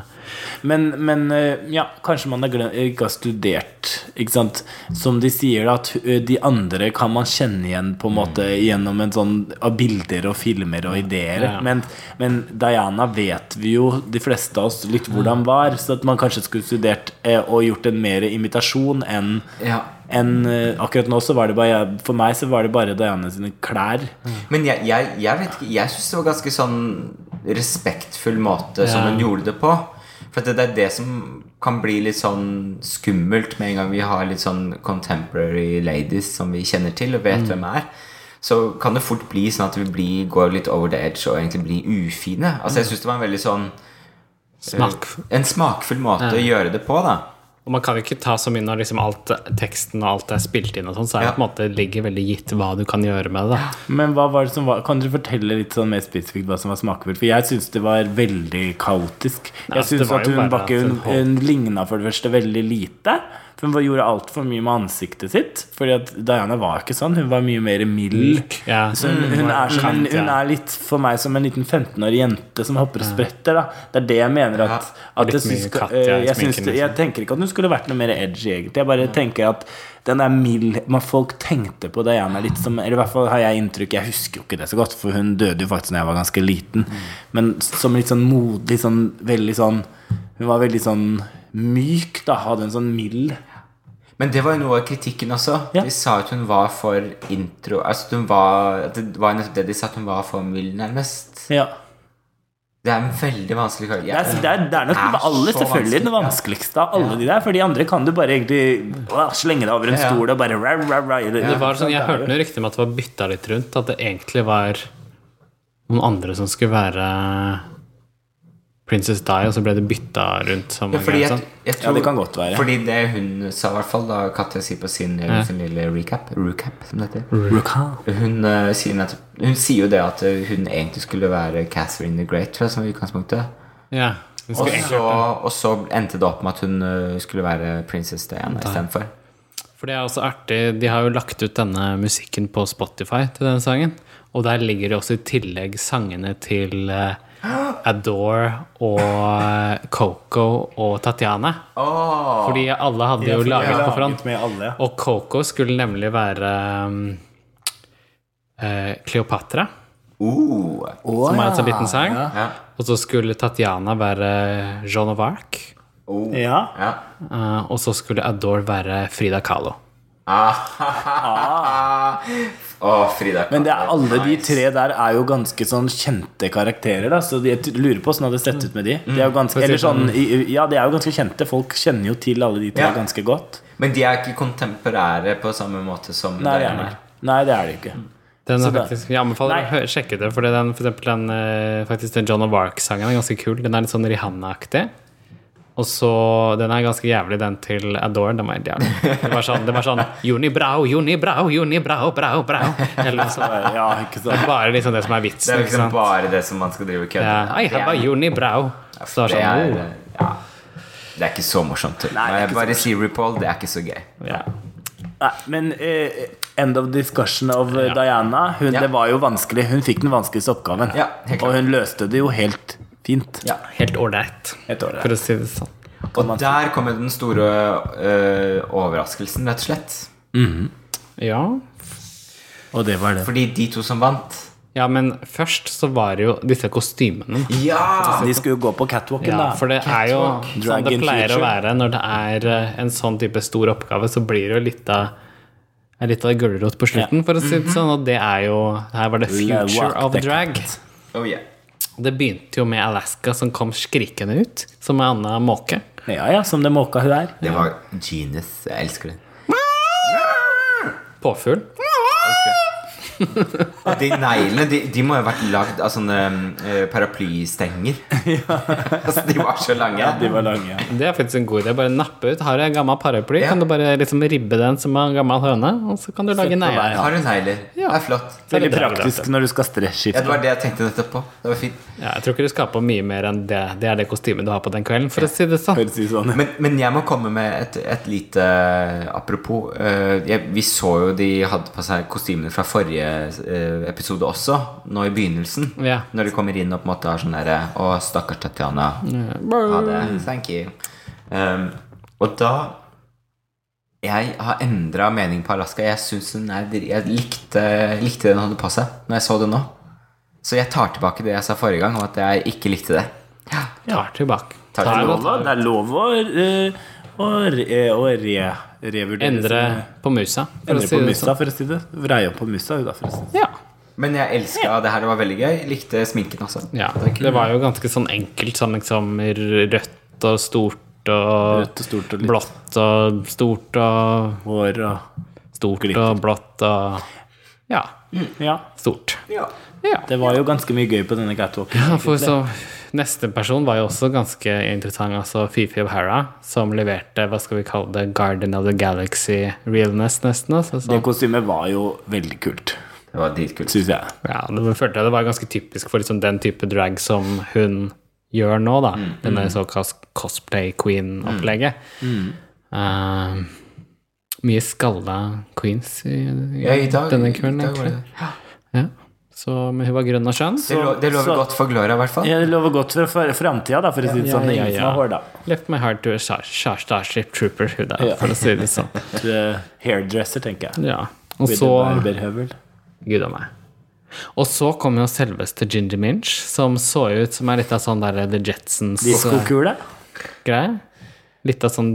[SPEAKER 1] Men, men eh, ja, kanskje man har glem- ikke har studert. Ikke sant? Som de sier, da, at eh, de andre kan man kjenne igjen på en måte gjennom en sånn av bilder og filmer og ideer.
[SPEAKER 2] Ja.
[SPEAKER 1] Men, men Diana vet vi jo, de fleste av oss, litt hvordan var. Så at man kanskje skulle studert eh, og gjort en mer imitasjon enn
[SPEAKER 3] Ja.
[SPEAKER 1] enn, eh, akkurat nå så var det bare For meg så var det bare Diana sine klær.
[SPEAKER 3] Men jeg, jeg, jeg vet ikke Jeg syns det var ganske sånn respektfull måte som
[SPEAKER 2] Ja.
[SPEAKER 3] hun gjorde det på. For at det, det er det som kan bli litt sånn skummelt med en gang vi har litt sånn contemporary ladies som vi kjenner til og vet hvem er. Så kan det fort bli sånn at vi blir, går litt over the edge og egentlig blir ufine. Altså jeg synes det var en veldig sånn
[SPEAKER 2] smak.
[SPEAKER 3] En smakfull måte å gjøre det på, da.
[SPEAKER 2] Og man kan jo ikke ta så mye når liksom alt teksten og alt er spilt inn, og sånn, så er det
[SPEAKER 3] Ja.
[SPEAKER 2] på en måte ligger veldig gitt hva du kan gjøre med det. da.
[SPEAKER 1] Men hva var det som var Kan dere fortelle litt sånn mer spesifikt hva som var smakfullt? For jeg syns det var veldig kaotisk.
[SPEAKER 2] Nei, altså,
[SPEAKER 1] jeg
[SPEAKER 2] det
[SPEAKER 1] syns
[SPEAKER 2] var
[SPEAKER 1] at
[SPEAKER 2] jo
[SPEAKER 1] hun
[SPEAKER 2] bare at
[SPEAKER 1] Bakke Hun,
[SPEAKER 2] hun holdt-
[SPEAKER 1] hun ligna for det første veldig lite. For hun gjorde altfor mye med ansiktet sitt. Fordi at Diana var ikke sånn. Hun var mye mer mild.
[SPEAKER 2] Ja.
[SPEAKER 1] Så hun, hun, er som en,
[SPEAKER 2] Mm. Kant, ja.
[SPEAKER 1] hun er litt for meg som en liten 15-årig jente som hopper og spretter. Da. Det er det jeg mener at, at jeg,
[SPEAKER 2] litt mye
[SPEAKER 1] syns,
[SPEAKER 2] liksom. katt, ja,
[SPEAKER 1] eh, jeg,
[SPEAKER 2] sminken,
[SPEAKER 1] syns, jeg tenker ikke at hun skulle vært noe mer edgy, egentlig. Jeg bare tenker at den der mild man Folk tenkte på Diana litt som Eller i hvert fall har jeg inntrykk Jeg husker jo ikke det så godt, for hun døde jo faktisk da jeg var ganske liten.
[SPEAKER 2] Mm.
[SPEAKER 1] Men som litt sånn modig, sånn veldig sånn Hun var veldig sånn myk, da. Hadde en sånn mild
[SPEAKER 3] Men det var jo noe av kritikken også.
[SPEAKER 1] Ja.
[SPEAKER 3] De sa at hun var for intro Altså at hun var at Det var nettopp det de sa, at hun var for mild, nærmest.
[SPEAKER 1] Ja.
[SPEAKER 3] Det er en veldig vanskelig karakter.
[SPEAKER 1] Det er, det er, det er nok
[SPEAKER 3] Det er
[SPEAKER 1] alle
[SPEAKER 3] så
[SPEAKER 1] selvfølgelig den
[SPEAKER 3] vanskelig, ja.
[SPEAKER 1] vanskeligste av alle de der. For de andre kan du bare egentlig å, slenge deg over en
[SPEAKER 3] Ja, ja.
[SPEAKER 1] stol og bare ra, ra, ra, eller-
[SPEAKER 2] Det var sånn, Jeg hørte noe rykte om at det var bytta litt rundt. At det egentlig var noen andre som skulle være Princess Di, og så ble det bytta rundt. Som
[SPEAKER 3] Ja, fordi
[SPEAKER 2] greier,
[SPEAKER 3] jeg,
[SPEAKER 2] sånn.
[SPEAKER 3] jeg tror,
[SPEAKER 1] det kan godt være.
[SPEAKER 3] Fordi det hun sa, i hvert fall, da Katja sier på sin, sin lille recap Recap, som det heter.
[SPEAKER 1] Rukha.
[SPEAKER 3] Hun, eh, sier nettopp- hun sier jo det at eh, hun egentlig skulle være Catherine the Great, tror jeg, som utgangspunktet.
[SPEAKER 2] Ja, det
[SPEAKER 3] Og
[SPEAKER 2] skulle egentlig-
[SPEAKER 3] så, og så endte det opp med at hun eh, skulle være prinsesse Diana istedenfor.
[SPEAKER 2] For det er også artig, de har jo lagt ut denne musikken på Spotify til denne sangen. Og der ligger det også i tillegg sangene til eh, Adore og eh, Coco og Tatiana. Fordi alle hadde jo laget på front.
[SPEAKER 1] Med alle.
[SPEAKER 2] Og Coco skulle nemlig være um, eh, Cleopatra,
[SPEAKER 3] Oh.
[SPEAKER 1] Uh.
[SPEAKER 2] som er altså en liten sang.
[SPEAKER 3] Ja.
[SPEAKER 2] Og så skulle Tatjana være Joan of Arc.
[SPEAKER 3] Oh.
[SPEAKER 1] Ja.
[SPEAKER 3] Ja.
[SPEAKER 2] Eh, og så skulle Adore være Frida Kahlo.
[SPEAKER 3] Ah. Å, Frida
[SPEAKER 1] Men det er,
[SPEAKER 3] Kahlo,
[SPEAKER 1] alle de
[SPEAKER 3] nice.
[SPEAKER 1] tre der er jo ganske sånn kjente karakterer, da. Så de- jeg t- lurer på åssen det hadde sett ut med de. de
[SPEAKER 3] Mm.
[SPEAKER 1] er jo ganske, eller sånn, i- i- ja, de er jo ganske kjente. Folk kjenner jo til alle de tre
[SPEAKER 3] Ja.
[SPEAKER 1] ganske godt.
[SPEAKER 3] Men de er ikke kontemporære på samme måte som
[SPEAKER 1] Nei, det er
[SPEAKER 3] Diana
[SPEAKER 1] de ikke. Nei, det er de ikke.
[SPEAKER 2] Den
[SPEAKER 1] Så
[SPEAKER 2] er
[SPEAKER 1] det-
[SPEAKER 2] faktisk, jeg anbefaler å
[SPEAKER 1] Nei.
[SPEAKER 2] hø- sjekke det, fordi den, for eksempel den, eh, faktisk den John of Arc-sangen er ganske kul. Den er litt sånn Rihanna-aktig. Og så, Den er ganske jævlig, den til Adore. Den var helt jævlig. Det var sånn, det var sånn Juni brau, juni brau, juni brau, brau, brau. Eller noe sånt.
[SPEAKER 1] Ja, ikke
[SPEAKER 2] Det
[SPEAKER 1] sant.
[SPEAKER 2] er bare liksom det som er
[SPEAKER 3] Det
[SPEAKER 2] vitsen.
[SPEAKER 3] er jo
[SPEAKER 2] ikke
[SPEAKER 3] ikke
[SPEAKER 2] sant?
[SPEAKER 3] bare det som man skal drive og kødde
[SPEAKER 2] Ja, I have a juni brau. Så det
[SPEAKER 3] Det
[SPEAKER 2] er
[SPEAKER 3] er, eh,
[SPEAKER 2] sånn, oh.
[SPEAKER 3] ja. det er ikke så morsomt. Nei,
[SPEAKER 1] det er ikke så
[SPEAKER 3] bare si RuPaul, det er ikke så gøy.
[SPEAKER 2] sånn, oh, ja.
[SPEAKER 1] Nei, men eh, end of discussion of eh, Diana. Hun,
[SPEAKER 3] Ja.
[SPEAKER 1] Det var jo vanskelig. Hun fikk den vanskeligste oppgaven.
[SPEAKER 3] Ja, helt klart.
[SPEAKER 1] og hun løste det jo helt fint.
[SPEAKER 3] Ja.
[SPEAKER 2] Helt ålreit,
[SPEAKER 1] Helt ålreit.
[SPEAKER 2] for å si det sånn.
[SPEAKER 1] Kan
[SPEAKER 3] Og
[SPEAKER 1] man si.
[SPEAKER 3] der kommer den store øh, overraskelsen, rett og slett.
[SPEAKER 2] Ja.
[SPEAKER 1] Og det var det.
[SPEAKER 3] Fordi de to som vant
[SPEAKER 2] ja, men først så var det jo disse kostymene.
[SPEAKER 3] Ja!
[SPEAKER 1] De skulle jo gå på catwalken,
[SPEAKER 2] Ja,
[SPEAKER 1] da.
[SPEAKER 2] for det er jo sånn det
[SPEAKER 1] Dragon
[SPEAKER 2] pleier å
[SPEAKER 1] Future.
[SPEAKER 2] være når det er eh, en sånn type stor oppgave, så blir det jo litt av er litt av gulrot på slutten, for å si det sånn. Og det er jo Her var det Future
[SPEAKER 1] Walk
[SPEAKER 2] of
[SPEAKER 1] the
[SPEAKER 2] Drag.
[SPEAKER 3] Oh, yeah.
[SPEAKER 2] Det begynte jo med Alaska som kom skrikende ut, som ei anna måke.
[SPEAKER 1] Ja ja, som det måka hun er.
[SPEAKER 3] Det var genius. Jeg elsker det.
[SPEAKER 2] Påfugl.
[SPEAKER 3] Og de neglene de, de må jo ha vært lagd av sånne øh, paraplystenger. altså, de var så lange.
[SPEAKER 1] De var lange. Ja.
[SPEAKER 2] Det er faktisk en god idé. Bare nappe ut. Har du en gammel paraply,
[SPEAKER 3] Ja.
[SPEAKER 2] kan du bare liksom ribbe den som en gammel høne, og så kan du lage
[SPEAKER 1] hver
[SPEAKER 2] negler.
[SPEAKER 3] Har hun negler?
[SPEAKER 2] Ja.
[SPEAKER 3] Det er flott.
[SPEAKER 2] Så er det
[SPEAKER 1] Veldig
[SPEAKER 2] drag,
[SPEAKER 1] praktisk når du skal
[SPEAKER 3] Ja,
[SPEAKER 1] stresskifte.
[SPEAKER 3] det var det jeg tenkte nettopp på. Det var fint.
[SPEAKER 2] Ja, jeg tror ikke du skal ha på mye mer enn det. Det er det kostymet du har på den kvelden, for å si det sånn.
[SPEAKER 1] For å si det sånn.
[SPEAKER 3] Men, men jeg må komme med et, et lite apropos. Eh, jeg, vi så jo de hadde på seg kostymene fra forrige eh, episode også, nå i begynnelsen.
[SPEAKER 2] Ja.
[SPEAKER 3] Når de kommer inn og på en måte har sånn derre Å, stakkars Tatjana. Ha det. Thank you. Um, og da Jeg har endra mening på Alaska. Jeg syns hun er dri- Jeg likte, likte det hun hadde på seg, når jeg så det nå. Så jeg tar tilbake det jeg sa forrige gang, om at jeg ikke likte det. Ja.
[SPEAKER 2] Tar tilbake.
[SPEAKER 1] Det
[SPEAKER 3] Tar
[SPEAKER 2] Tar
[SPEAKER 1] er
[SPEAKER 2] og
[SPEAKER 1] lov,
[SPEAKER 2] tar.
[SPEAKER 1] å- det er lov å, eh, å, re, eh, å re, revurdere
[SPEAKER 2] Endre
[SPEAKER 1] sine-
[SPEAKER 2] på musa. for å
[SPEAKER 1] Endre
[SPEAKER 2] si
[SPEAKER 1] på
[SPEAKER 2] det
[SPEAKER 1] musa, for å si det. Vrei opp på musa. hun da, for å si det.
[SPEAKER 2] sånn. Ja.
[SPEAKER 3] Men jeg elska det her, det var veldig gøy. Likte sminken også.
[SPEAKER 2] ja. Det var jo ganske sånn enkelt sånn liksom rødt og stort og
[SPEAKER 1] Rødt og stort og litt
[SPEAKER 2] blått og stort og
[SPEAKER 1] hår og
[SPEAKER 2] stort
[SPEAKER 1] Glitter.
[SPEAKER 2] og blått og Ja.
[SPEAKER 1] Ja.
[SPEAKER 2] Stort.
[SPEAKER 3] Ja.
[SPEAKER 2] Ja.
[SPEAKER 1] Det var jo ganske mye gøy på denne catwalken.
[SPEAKER 2] Ja, for
[SPEAKER 1] egentlig.
[SPEAKER 2] så, neste person var jo også ganske interessant, altså Fifi O'Hara, som leverte, hva skal vi kalle det, Guardian of the Galaxy realness, nesten. Altså,
[SPEAKER 1] Det
[SPEAKER 2] sånn.
[SPEAKER 1] kostymet var jo veldig kult,
[SPEAKER 3] Det var dritkult.
[SPEAKER 1] syns jeg.
[SPEAKER 2] Ja, det følte jeg det var ganske typisk for liksom den type drag som hun gjør nå, da.
[SPEAKER 3] Mm.
[SPEAKER 2] Denne såkalt cosplay queen-opplegget.
[SPEAKER 3] Mm.
[SPEAKER 2] Eh, mye skalla queens i, i,
[SPEAKER 3] Ja, i dag,
[SPEAKER 2] denne kvelden,
[SPEAKER 3] i dag
[SPEAKER 2] egentlig.
[SPEAKER 3] var det. Ja.
[SPEAKER 2] Ja. Så, men hun var grønn og skjønn.
[SPEAKER 3] Det, lo, det lover
[SPEAKER 1] Så-
[SPEAKER 3] godt for Gloria, i hvert fall.
[SPEAKER 1] Ja, det lover godt for- for framtida, da, for å si det
[SPEAKER 2] Ja,
[SPEAKER 1] sånn. Det er
[SPEAKER 2] ja,
[SPEAKER 1] ingen som
[SPEAKER 2] ja.
[SPEAKER 1] har hår, da.
[SPEAKER 2] Left my heart to a star, star, starship trooper, hun der, for å si det sånn.
[SPEAKER 1] Du er Hairdresser, tenker jeg.
[SPEAKER 2] Ja. Og
[SPEAKER 1] Ville
[SPEAKER 2] så
[SPEAKER 1] Barberhøvel.
[SPEAKER 2] Gud a meg. Og så kom jo selveste Ginger Minch, som så ut som er litt av sånn der The eh, Jetsons-greie.
[SPEAKER 1] Diskokule.
[SPEAKER 2] Litt av sånn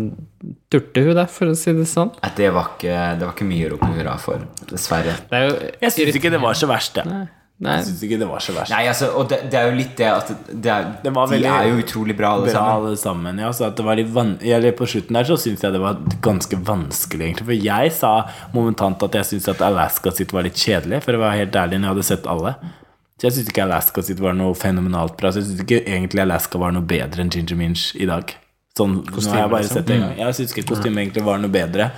[SPEAKER 2] turtehud, der, for å si det sånn.
[SPEAKER 3] At det, var ikke, det var ikke mye å rope hurra for, dessverre.
[SPEAKER 2] Det er jo
[SPEAKER 1] Jeg syns ikke det var så verst, jeg.
[SPEAKER 2] Nei, Nei.
[SPEAKER 1] Jeg synes ikke det var så verst.
[SPEAKER 3] Nei, altså, og det, det er jo litt det at det er,
[SPEAKER 1] Det var veldig
[SPEAKER 3] De er jo utrolig bra, alle
[SPEAKER 1] Bra
[SPEAKER 3] sammen.
[SPEAKER 1] alle sammen. Ja, så at det var litt van eller på slutten der så syns jeg det var ganske vanskelig, egentlig. For jeg sa momentant at jeg syntes at Alaska sitt var litt kjedelig, for å være helt ærlig når jeg hadde sett alle. Så jeg syns ikke Alaska sitt var noe fenomenalt bra. Så jeg syns ikke egentlig Alaska var noe bedre enn Ginger Minch i dag. Sånn, nå har jeg
[SPEAKER 2] liksom.
[SPEAKER 1] bare sett det en gang.
[SPEAKER 2] Mm.
[SPEAKER 1] Jeg syns ikke kostymet egentlig var noe bedre.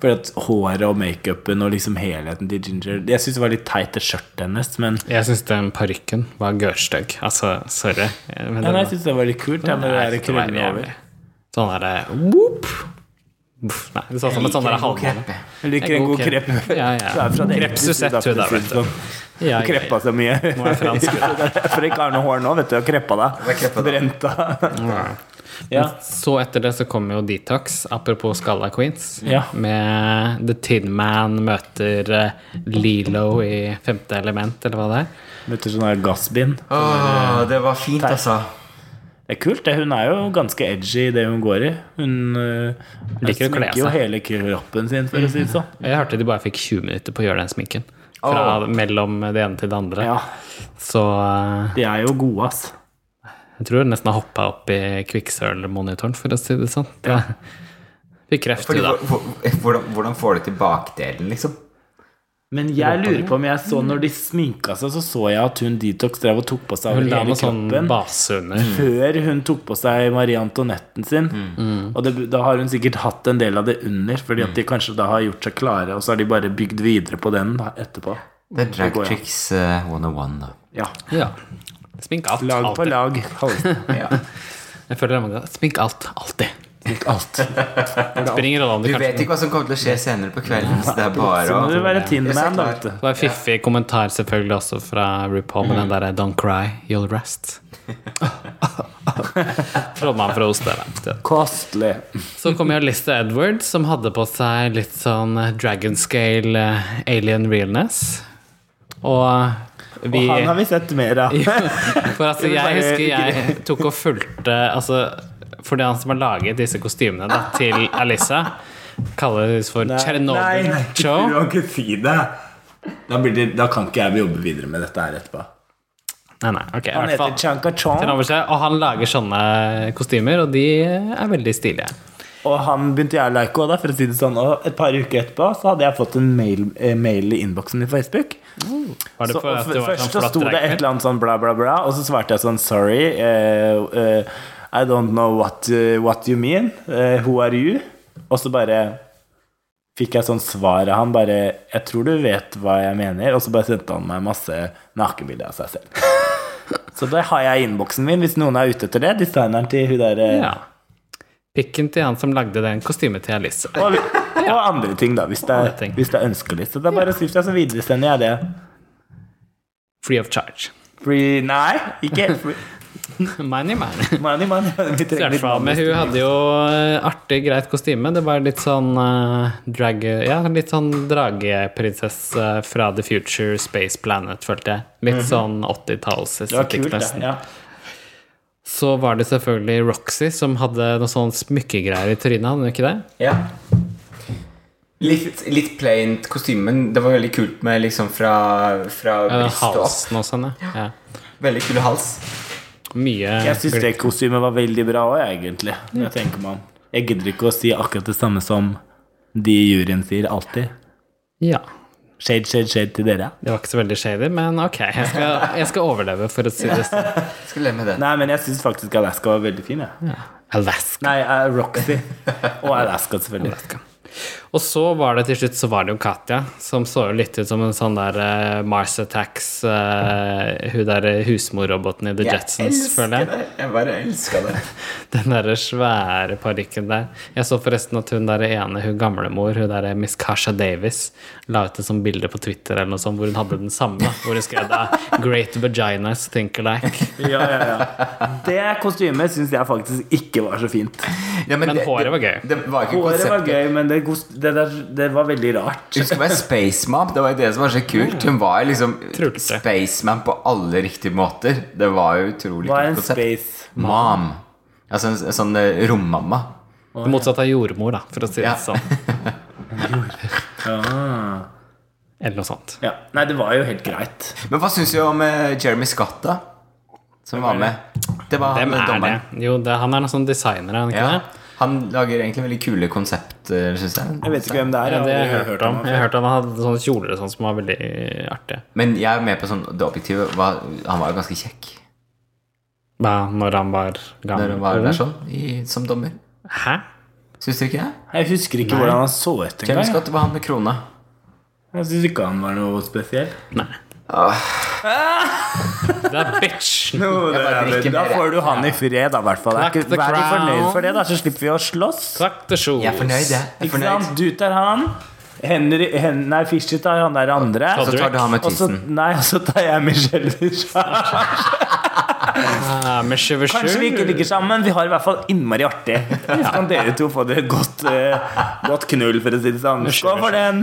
[SPEAKER 1] For at håret og makeupen og liksom helheten til Ginger Jeg syns det var litt teit, det skjørtet hennes, men
[SPEAKER 2] Jeg syns den parykken var gørrstygg. Altså, sorry.
[SPEAKER 1] ja,
[SPEAKER 2] Men den
[SPEAKER 1] nei, jeg syns det var litt kult. Ja, med det
[SPEAKER 2] Nei,
[SPEAKER 1] der
[SPEAKER 2] det var
[SPEAKER 1] krøllene
[SPEAKER 2] jævlig.
[SPEAKER 1] over.
[SPEAKER 2] Sånn derre whoop. Uff, Nei, det så ut som en sånn derre halvmåne.
[SPEAKER 1] Jeg liker en god krepp.
[SPEAKER 2] Ja, ja.
[SPEAKER 1] Så er det fra det
[SPEAKER 2] Krepsusett,
[SPEAKER 1] enkelte sida,
[SPEAKER 2] hun der,
[SPEAKER 1] for å
[SPEAKER 2] vet
[SPEAKER 1] si det
[SPEAKER 2] du.
[SPEAKER 1] sånn.
[SPEAKER 2] Ja,
[SPEAKER 1] Du kreppa så mye.
[SPEAKER 2] Nå er jeg fransk.
[SPEAKER 1] Det er derfor jeg ikke har noe hår nå, vet du. Jeg har kreppa
[SPEAKER 3] Jeg har
[SPEAKER 1] deg.
[SPEAKER 3] kreppa deg.
[SPEAKER 1] Brent deg. Ja.
[SPEAKER 2] Så etter det så kommer jo Detox, apropos Skalla Queens,
[SPEAKER 1] Ja.
[SPEAKER 2] med The Tin Man møter eh, Lilo i Femte element, eller hva det er.
[SPEAKER 1] Møtte sånn der gassbind.
[SPEAKER 3] Åh, det var fint, altså.
[SPEAKER 1] Det er kult. det. Hun er jo ganske edgy i det hun går i. Hun øh,
[SPEAKER 2] Liker å kle
[SPEAKER 1] sminker jo
[SPEAKER 2] seg.
[SPEAKER 1] hele kroppen sin, for å si det sånn.
[SPEAKER 2] Jeg hørte de bare fikk 20 minutter på å gjøre den sminken. Fra mellom det ene til det andre.
[SPEAKER 1] Ja,
[SPEAKER 2] Så eh,
[SPEAKER 1] de er jo gode, ass.
[SPEAKER 2] jeg tror hun nesten har hoppa opp i kvikksølvmonitoren, for å si det sånn. Det fikk kreft,
[SPEAKER 3] Fordi,
[SPEAKER 2] du, da.
[SPEAKER 3] hvor- hvor- hvordan, hvordan får du til bakdelen, liksom?
[SPEAKER 1] Men jeg lurer på om jeg så når de sminka seg, så så jeg at hun Detox drev og tok på seg
[SPEAKER 2] Hun
[SPEAKER 1] hele
[SPEAKER 2] la noe sånn
[SPEAKER 1] kroppen.
[SPEAKER 2] base under.
[SPEAKER 1] før hun tok på seg Marie Antoinetten sin. Og det, da har hun sikkert hatt en del av det under, fordi at de kanskje da har gjort seg klare, og så har de bare bygd videre på den da, etterpå.
[SPEAKER 3] Det er Drag
[SPEAKER 1] går, ja.
[SPEAKER 3] Tricks eh, 101, da.
[SPEAKER 1] Ja.
[SPEAKER 2] Ja. Smink alt.
[SPEAKER 1] Lag på
[SPEAKER 2] alltid.
[SPEAKER 1] lag. kalles det.
[SPEAKER 3] Ja.
[SPEAKER 2] Jeg føler det er mange ganger. Smink alt. Alltid. Det spiller ingen rolle om
[SPEAKER 3] Du
[SPEAKER 2] du kanskje
[SPEAKER 3] vet ikke hva som kommer til å skje senere på kvelden, så det er
[SPEAKER 1] Så må du
[SPEAKER 3] bare å
[SPEAKER 1] være Tinderman, da, vet
[SPEAKER 2] Det
[SPEAKER 1] du.
[SPEAKER 2] var en fiffig kommentar selvfølgelig også fra RuPaul med den derre 'Don't cry, you'll rest'. Trodde man for å hoste det.
[SPEAKER 1] Kostelig.
[SPEAKER 2] Så kom jo Lista Edwards, som hadde på seg litt sånn dragon scale eh, alien realness. Og vi
[SPEAKER 1] Og han har vi sett mer av.
[SPEAKER 2] For altså, jeg husker jeg tok og fulgte altså, For det han som har laget disse kostymene da, til Alissa, kalles for Chernobyl Show.
[SPEAKER 1] kan ikke si det. Da, blir det, da kan ikke jeg jobbe videre med dette her etterpå.
[SPEAKER 2] Nei, nei, ok, i
[SPEAKER 1] Han
[SPEAKER 2] hvert fall.
[SPEAKER 1] heter Chanka
[SPEAKER 2] Den
[SPEAKER 1] Chong,
[SPEAKER 2] over seg, og han lager sånne kostymer, og de er veldig stilige.
[SPEAKER 1] og han begynte jeg å like også da, for å si det sånn. Og et par uker etterpå så hadde jeg fått en mail, eh, mail i innboksen i Facebook.
[SPEAKER 2] Var det
[SPEAKER 1] Så,
[SPEAKER 2] for at
[SPEAKER 1] f-
[SPEAKER 2] det var
[SPEAKER 1] først
[SPEAKER 2] sånn
[SPEAKER 1] så
[SPEAKER 2] flatt
[SPEAKER 1] sto det et
[SPEAKER 2] regn?
[SPEAKER 1] eller annet sånn bla, bla, bla, og så svarte jeg sånn sorry. eh, eh, I don't know what, eh, what you mean. eh, who are you? Og så bare fikk jeg sånn svar av han bare Jeg tror du vet hva jeg mener. Og så bare sendte han meg masse nakenbilder av seg selv. Så det har jeg i innboksen min, hvis noen er ute etter det. Designeren til hun der eh,
[SPEAKER 2] Ja. Pikken til han som lagde den kostymet til Alice.
[SPEAKER 1] og, og andre ting, da, hvis det,
[SPEAKER 2] Andre
[SPEAKER 1] er,
[SPEAKER 2] ting.
[SPEAKER 1] hvis det er ønskelig. Så det er bare å si fra, så videresender jeg det.
[SPEAKER 2] Free of charge.
[SPEAKER 1] Free, nei, ikke helt free.
[SPEAKER 2] Money, man.
[SPEAKER 1] Money, money. Vi
[SPEAKER 2] I
[SPEAKER 1] trenger
[SPEAKER 2] hvert
[SPEAKER 1] litt
[SPEAKER 2] fall,
[SPEAKER 1] money.
[SPEAKER 2] men hun hadde jo eh, artig, greit kostyme. Det var litt sånn eh, drag... Ja, litt sånn drageprinsesse fra The Future Space Planet, følte jeg. Litt sånn 80-talls
[SPEAKER 1] Mhm. Det var kult,
[SPEAKER 2] estetikk,
[SPEAKER 1] det.
[SPEAKER 2] nesten.
[SPEAKER 1] Ja.
[SPEAKER 2] Så var det selvfølgelig Roxy som hadde noen sånne smykkegreier i trynet, hadde hun ikke det?
[SPEAKER 3] Ja. Litt, litt plaint kostyme, men det var veldig kult med liksom fra, fra
[SPEAKER 2] Ja, den
[SPEAKER 3] brystet og opp.
[SPEAKER 2] halsen og sånn, ja. ja.
[SPEAKER 3] Veldig kul hals.
[SPEAKER 2] Mye
[SPEAKER 1] Jeg syns
[SPEAKER 2] glitter.
[SPEAKER 1] det kostymet var veldig bra òg, egentlig. når Jeg tenker meg om. Jeg gidder ikke å si akkurat det samme som de i juryen sier alltid.
[SPEAKER 2] Ja.
[SPEAKER 1] Shade, shade, shade til dere.
[SPEAKER 2] Det var ikke så veldig shady, men ok. Jeg skal, jeg skal overleve, for å si det sånn.
[SPEAKER 3] Skal leve med det.
[SPEAKER 1] Nei, men jeg syns faktisk Alaska var veldig fin. Jeg.
[SPEAKER 2] Alaska.
[SPEAKER 1] Nei, eh, Roxy. Og Alaska, selvfølgelig.
[SPEAKER 2] Alaska. Og så var det til slutt så var det jo Katja, som så jo litt ut som en sånn der eh, Mars Attacks eh, Hun der husmorroboten i The Jetsons, føler jeg.
[SPEAKER 3] det. Jeg bare elska det.
[SPEAKER 2] Den derre svære parykken der. Jeg så forresten at hun der ene, hun gamlemor, hun der Miss Kasha Davis, la ut et sånt bilde på Twitter eller noe sånt, hvor hun hadde den samme. Hvor hun skrev da 'Great vaginas think alike'.
[SPEAKER 1] Ja, ja, ja. Det kostymet syns jeg faktisk ikke var så fint.
[SPEAKER 3] Ja,
[SPEAKER 2] Men
[SPEAKER 3] det-
[SPEAKER 2] håret var gøy.
[SPEAKER 3] Det, det var ikke
[SPEAKER 1] Håret var
[SPEAKER 3] konseptet.
[SPEAKER 1] gøy, men det, kos- det, der, det var veldig rart.
[SPEAKER 3] Hun skulle være spaceman. Det var jo det som var så kult. Hun var liksom
[SPEAKER 2] Trulte.
[SPEAKER 3] spaceman på alle riktige måter. Det var jo utrolig
[SPEAKER 1] Var
[SPEAKER 3] kult
[SPEAKER 1] en
[SPEAKER 3] konsept.
[SPEAKER 1] space
[SPEAKER 3] Mom. Altså en, en sånn eh, rommamma.
[SPEAKER 2] Det motsatte av jordmor, da, for å si det
[SPEAKER 3] Ja.
[SPEAKER 2] sånn.
[SPEAKER 1] ah.
[SPEAKER 2] Eller noe sånt.
[SPEAKER 1] ja. Nei, det var jo helt greit.
[SPEAKER 3] Men hva syns du om eh, Jeremy Scott, da? Som var med. Det var han
[SPEAKER 2] Hvem
[SPEAKER 3] eh,
[SPEAKER 2] er det?
[SPEAKER 3] dommeren.
[SPEAKER 2] Jo, det, han er noen sånn designer, er han ikke
[SPEAKER 3] Ja.
[SPEAKER 2] det?
[SPEAKER 3] Han lager egentlig veldig kule konsepter, syns
[SPEAKER 1] Jeg
[SPEAKER 3] jeg.
[SPEAKER 1] vet ikke hvem det er.
[SPEAKER 2] Ja,
[SPEAKER 1] aldri
[SPEAKER 2] det har jeg hørt om.
[SPEAKER 1] han.
[SPEAKER 2] Jeg har hørt om Han hadde sånne kjoler og sånn som var veldig artige.
[SPEAKER 3] Men jeg er med på sånn, det objektive. Var, han var jo ganske kjekk
[SPEAKER 2] Da, når han var
[SPEAKER 3] når
[SPEAKER 2] gammel.
[SPEAKER 3] han var der sånn, i, som dommer.
[SPEAKER 2] Hæ?
[SPEAKER 3] Syns du ikke det?
[SPEAKER 1] Jeg husker ikke hvordan han så ut
[SPEAKER 3] Jeremy
[SPEAKER 1] engang.
[SPEAKER 3] Scott var han med krona.
[SPEAKER 1] Jeg syns ikke han var noe spesiell.
[SPEAKER 2] Nei.
[SPEAKER 1] Ah.
[SPEAKER 2] Det er bitch!
[SPEAKER 3] det er det.
[SPEAKER 1] da får du han i fred, da, i hvert fall. Det er
[SPEAKER 2] Crack
[SPEAKER 1] ikke-
[SPEAKER 2] the
[SPEAKER 1] Vær ikke
[SPEAKER 2] crown.
[SPEAKER 1] fornøyd for det, da, så slipper vi å slåss.
[SPEAKER 2] Takk til Sjos.
[SPEAKER 3] Jeg er fornøyd, jeg. jeg. er
[SPEAKER 1] Ikke
[SPEAKER 3] fornøyd.
[SPEAKER 1] sant? Du tar han. Henry, Hen nei, Fischer tar han der andre.
[SPEAKER 3] Så tar du han med
[SPEAKER 1] Og så,
[SPEAKER 3] tissen.
[SPEAKER 1] nei, og så tar jeg Michelle Visage.
[SPEAKER 2] Ah, med shiver
[SPEAKER 1] Kanskje vi ikke ligger sammen, vi har i hvert fall innmari artig. Så kan dere to få det godt, eh, godt knull, for å si det sånn. Skål for den!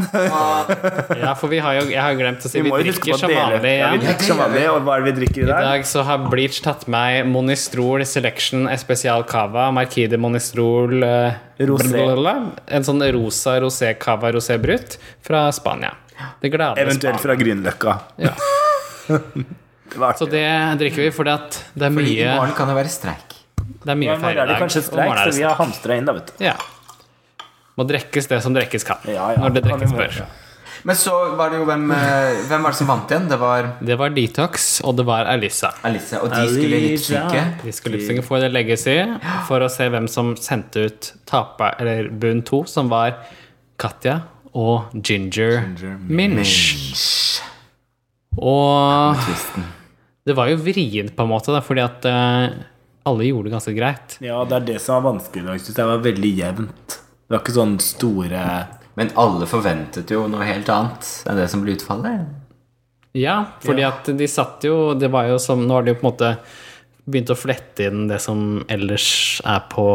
[SPEAKER 2] Ja, for vi har jo, jeg har jo glemt å si
[SPEAKER 1] Vi
[SPEAKER 2] vi,
[SPEAKER 1] må jo huske på
[SPEAKER 2] drikker
[SPEAKER 1] å
[SPEAKER 2] som vanlig
[SPEAKER 1] dele. Ja, vi
[SPEAKER 2] igjen.
[SPEAKER 1] drikker som vanlig, og hva er det vi drikker i
[SPEAKER 2] I
[SPEAKER 1] dag?
[SPEAKER 2] dag så har Bleach tatt meg Monistrol Selection Especial Cava, Markide Monistrol eh,
[SPEAKER 1] Rosé.
[SPEAKER 2] blablabla. En sånn rosa rosé cava rosé brut fra Spania. Det glade
[SPEAKER 1] Eventuelt
[SPEAKER 2] Spania.
[SPEAKER 1] fra Grünerløkka.
[SPEAKER 2] Ja.
[SPEAKER 1] Det var
[SPEAKER 2] Så
[SPEAKER 1] artig.
[SPEAKER 2] det drikker vi fordi at det er
[SPEAKER 3] Fordi i
[SPEAKER 2] mye,
[SPEAKER 3] morgen kan det være streik.
[SPEAKER 2] det er
[SPEAKER 1] Ja,
[SPEAKER 2] mye
[SPEAKER 1] I morgen
[SPEAKER 2] feil
[SPEAKER 1] er
[SPEAKER 2] i
[SPEAKER 1] det
[SPEAKER 2] dag.
[SPEAKER 1] kanskje
[SPEAKER 2] Og i
[SPEAKER 1] streik,
[SPEAKER 2] morgen er
[SPEAKER 1] så
[SPEAKER 2] det
[SPEAKER 1] vi har hamstra inn, da, vet du.
[SPEAKER 2] Ja. Må drekkes det som drekkes kan.
[SPEAKER 1] Ja, ja.
[SPEAKER 2] Når det
[SPEAKER 1] Kan vi
[SPEAKER 2] drekkes
[SPEAKER 1] gjøre,
[SPEAKER 2] bør.
[SPEAKER 1] ja.
[SPEAKER 3] Men så var det jo hvem, eh, hvem var det som vant igjen? Det var
[SPEAKER 2] Det var Detox, og det var Alisa.
[SPEAKER 3] Alice, og de skulle lipsynke.
[SPEAKER 2] Vi skulle lipsynke for The Legacy for å se hvem som sendte ut taper, eller bunn to, som var Katja og Ginger, Minch. Og det var jo vrient, på en måte, da, fordi at eh, alle gjorde det ganske greit.
[SPEAKER 1] Ja, det er det som var vanskelig i dag. Syns jeg var veldig jevnt. Det var ikke sånn store
[SPEAKER 3] Men alle forventet jo noe helt annet enn det som ble utfallet.
[SPEAKER 2] Ja, fordi at de satt jo Det var jo som Nå har de jo på en måte begynt å flette inn det som ellers er på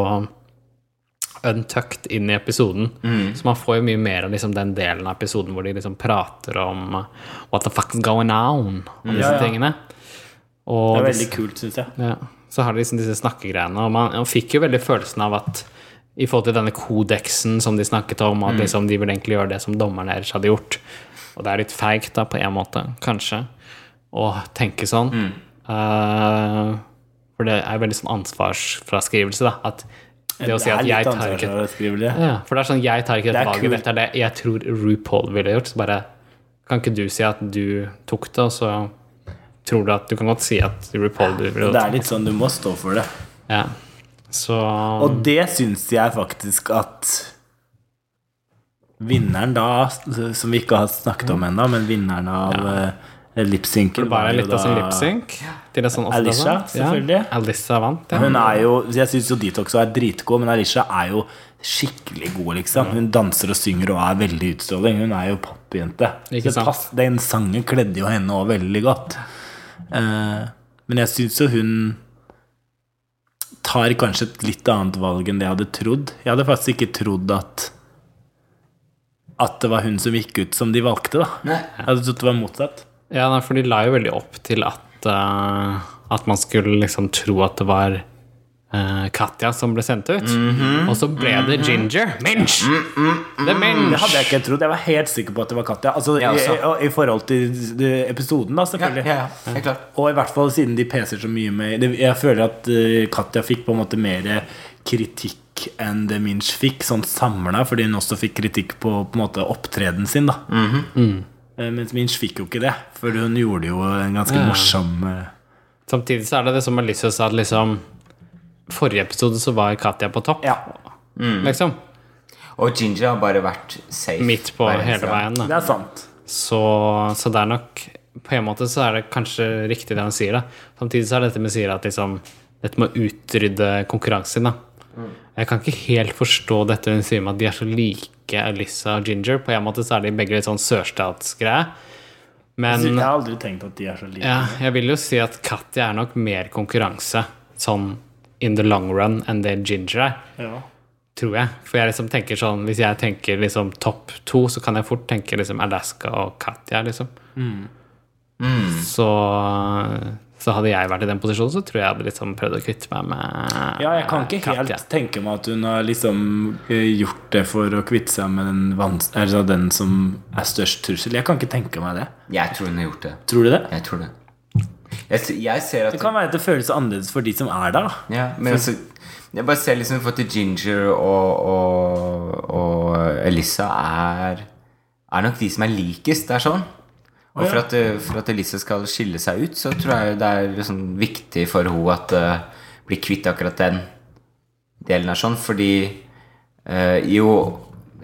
[SPEAKER 2] Untucked inn i episoden.
[SPEAKER 1] Mm.
[SPEAKER 2] Så man får jo mye mer av liksom den delen av episoden hvor de liksom prater om uh, What the fuck's going on? Og disse
[SPEAKER 1] Mm. Ja, ja.
[SPEAKER 2] tingene.
[SPEAKER 1] Det
[SPEAKER 2] Og
[SPEAKER 1] var
[SPEAKER 2] disse,
[SPEAKER 1] veldig kult, syns jeg.
[SPEAKER 2] ja, så har de liksom disse snakkegreiene, og man, man fikk jo veldig følelsen av at i forhold til denne kodeksen som de snakket om,
[SPEAKER 1] Mm.
[SPEAKER 2] at liksom de ville egentlig gjøre det som dommerne ellers hadde gjort. Og det er litt feigt, da, på en måte, kanskje, å tenke sånn.
[SPEAKER 1] Mm.
[SPEAKER 2] Eh, for det er veldig sånn ansvarsfraskrivelse, da. At det å si at jeg tar ikke
[SPEAKER 1] ansvarsfraskrivelse.
[SPEAKER 2] ja, For det er sånn, jeg tar ikke dette
[SPEAKER 1] Det er
[SPEAKER 2] valget,
[SPEAKER 1] kult.
[SPEAKER 2] dette er det jeg tror RuPaul ville gjort. Så bare Kan ikke du si at du tok det, og så tror du at Du kan godt si at RuPaul du ville
[SPEAKER 1] Det er litt sånn du må stå for det.
[SPEAKER 2] ja. Så
[SPEAKER 1] Og det syns jeg faktisk at vinneren da, som vi ikke har snakket om ennå, men vinneren av eh, lipsynken
[SPEAKER 2] bare
[SPEAKER 1] var jo
[SPEAKER 2] litt av sin
[SPEAKER 1] da-
[SPEAKER 2] lipsync. Til en sånn åttende,
[SPEAKER 1] Alicia,
[SPEAKER 2] sant? Ja,
[SPEAKER 1] selvfølgelig.
[SPEAKER 2] Alicia vant, ja.
[SPEAKER 1] Hun er jo, Jeg syns jo Detox er dritgod, men Alisha er jo skikkelig god, liksom. Hun danser og synger og er veldig utstråling. Hun er jo popjente.
[SPEAKER 2] Ikke
[SPEAKER 1] Så
[SPEAKER 2] sant?
[SPEAKER 1] pass- Den sangen kledde jo henne òg veldig godt. Eh, men jeg syns jo hun tar kanskje et litt annet valg enn det jeg hadde trodd. Jeg hadde faktisk ikke trodd at at det var hun som gikk ut som de valgte, da. Jeg hadde trodd det var motsatt.
[SPEAKER 2] ja nei, for de la jo veldig opp til at eh, At man skulle liksom tro at det var eh, Katja som ble sendt ut.
[SPEAKER 1] Mhm.
[SPEAKER 2] Og så ble det Ginger. Minch!
[SPEAKER 1] Mm,
[SPEAKER 2] Det er
[SPEAKER 1] Det
[SPEAKER 2] Minch!
[SPEAKER 1] hadde jeg ikke trodd. Jeg var helt sikker på at det var Katja. Altså,
[SPEAKER 3] Jeg også.
[SPEAKER 1] i, og i forhold til eh, episoden, da,
[SPEAKER 3] Ja,
[SPEAKER 1] selvfølgelig.
[SPEAKER 3] ja, ja, helt klart.
[SPEAKER 1] Og i hvert fall siden de peser så mye med det, Jeg føler at eh, Katja fikk på en måte mer kritikk enn det Minch fikk, sånn samla, fordi hun også fikk kritikk på, på en måte opptredenen sin, da.
[SPEAKER 3] Mhm.
[SPEAKER 1] Eh, Mens Minch fikk jo ikke det, for hun gjorde jo en ganske morsom eh,
[SPEAKER 2] Samtidig så er det det som Alicia sa, at liksom Forrige episode så var Katja på topp,
[SPEAKER 1] Ja,
[SPEAKER 2] liksom.
[SPEAKER 3] Og Ginger har bare vært safe.
[SPEAKER 2] Midt på
[SPEAKER 3] hver eneste
[SPEAKER 2] hele
[SPEAKER 3] gang.
[SPEAKER 2] veien, da.
[SPEAKER 1] det er sant.
[SPEAKER 2] Så, så det er nok På en måte så er det kanskje riktig det han sier, da. Samtidig så er dette med sier at liksom Dette med å utrydde konkurransen, da. Jeg kan ikke helt forstå dette hun sier med at de er så like Alissa og Ginger. På en måte så er de begge litt sånn sørstatsgreie. Men
[SPEAKER 1] Jeg har aldri tenkt at de er så like.
[SPEAKER 2] ja, jeg vil jo si at Katja er nok mer konkurranse sånn in the long run enn det Ginger er.
[SPEAKER 1] Ja.
[SPEAKER 2] Tror jeg. For jeg liksom tenker sånn Hvis jeg tenker liksom topp to, så kan jeg fort tenke liksom Alaska og Katja, liksom. Så Så hadde jeg vært i den posisjonen, så tror jeg jeg hadde liksom prøvd å kvitte meg med
[SPEAKER 1] Ja, jeg kan ikke helt
[SPEAKER 2] Katja.
[SPEAKER 1] tenke meg at hun har liksom eh, gjort det for å kvitte seg med den, vans altså den som er størst trussel. Jeg kan ikke tenke meg det.
[SPEAKER 3] Jeg tror hun har gjort det.
[SPEAKER 1] Tror du det?
[SPEAKER 3] Jeg tror det. Jeg, s- jeg ser at
[SPEAKER 1] Det kan være at det føles annerledes for de som er der. da.
[SPEAKER 3] ja, men altså, Jeg bare ser liksom for at Ginger og, og, og Elissa er Er nok de som er likest. Det er sånn. Og for at, eh, for at Elissa skal skille seg ut, så tror jeg det er liksom viktig for henne at det blir kvitt akkurat den delen er sånn, fordi eh, jo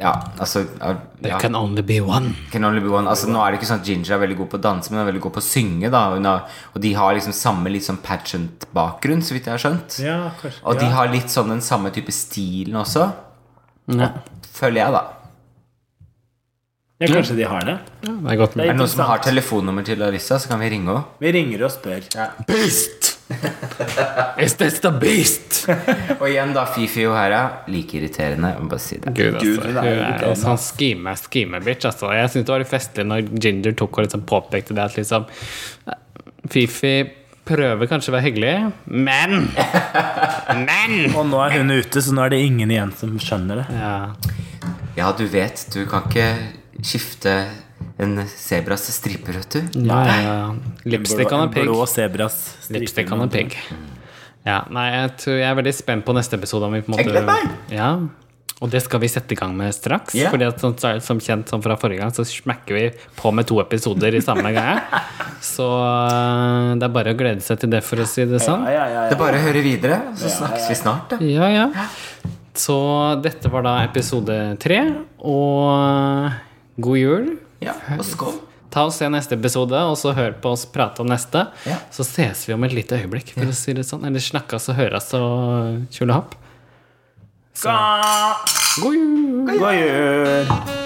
[SPEAKER 3] Ja, altså
[SPEAKER 2] There
[SPEAKER 3] ja.
[SPEAKER 2] can only be one.
[SPEAKER 3] Can only be one. Altså, nå er det ikke sånn at Ginger er veldig god på å danse, men hun er veldig god på å synge. Da. Hun har, og de har liksom samme litt sånn pageant-bakgrunn, så vidt jeg har skjønt.
[SPEAKER 1] Ja, kanskje.
[SPEAKER 3] Og de har litt sånn den samme type stilen også,
[SPEAKER 2] Ja.
[SPEAKER 3] føler jeg, da.
[SPEAKER 1] de har det.
[SPEAKER 2] Ja, det er godt
[SPEAKER 1] Det
[SPEAKER 2] med
[SPEAKER 1] er
[SPEAKER 3] Er det noen som
[SPEAKER 1] interessant.
[SPEAKER 3] har telefonnummer til Alissa, så kan vi ringe henne.
[SPEAKER 1] Vi ringer og spør.
[SPEAKER 3] Ja.
[SPEAKER 1] Beast!
[SPEAKER 2] Is this the beast?
[SPEAKER 3] Og igjen, da, Fifi O'Hara. Like irriterende. Jeg må bare si det.
[SPEAKER 2] Gud, altså.
[SPEAKER 1] Gud, hun er
[SPEAKER 2] hun er
[SPEAKER 1] irriterende.
[SPEAKER 2] en sånn scheme, scheme bitch, altså. Jeg synes det var litt festlig når Ginger tok og liksom påpekte det at liksom Fifi prøver kanskje å være hyggelig, men Men!
[SPEAKER 1] Og nå er hun ute, så nå er det ingen igjen som skjønner det.
[SPEAKER 2] Ja.
[SPEAKER 3] Ja, du vet, du kan ikke skifte en sebras striper, vet du.
[SPEAKER 2] Ja, ja, ja. Lipstick on a pig.
[SPEAKER 1] Blå sebras. striper.
[SPEAKER 2] Lipstick on a pig. Ja, nei, jeg, tror jeg er veldig spent på neste episode. Om vi på en
[SPEAKER 3] Jeg gleder
[SPEAKER 2] måte,
[SPEAKER 3] meg!
[SPEAKER 2] ja, og det skal vi sette i gang med straks.
[SPEAKER 3] Ja.
[SPEAKER 2] Fordi at, som, som kjent som fra forrige gang, så smekker vi på med to episoder i samme gang. Så øh, det er bare å glede seg til det, for å si det sånn.
[SPEAKER 1] Ja, ja, ja,
[SPEAKER 3] Det er
[SPEAKER 1] ja.
[SPEAKER 3] bare å høre videre, og så snakkes vi snart, da.
[SPEAKER 2] Ja, ja. Så dette var da episode tre, og eh, god jul.
[SPEAKER 3] Ja, og skål.
[SPEAKER 2] Ta og se neste episode, og så hør på oss prate om neste.
[SPEAKER 3] Ja.
[SPEAKER 2] Så ses vi om et lite øyeblikk, for å si det sånn. Eller snakkes og høres og tjolahopp.
[SPEAKER 1] Ga-
[SPEAKER 2] God jul!
[SPEAKER 1] God jul!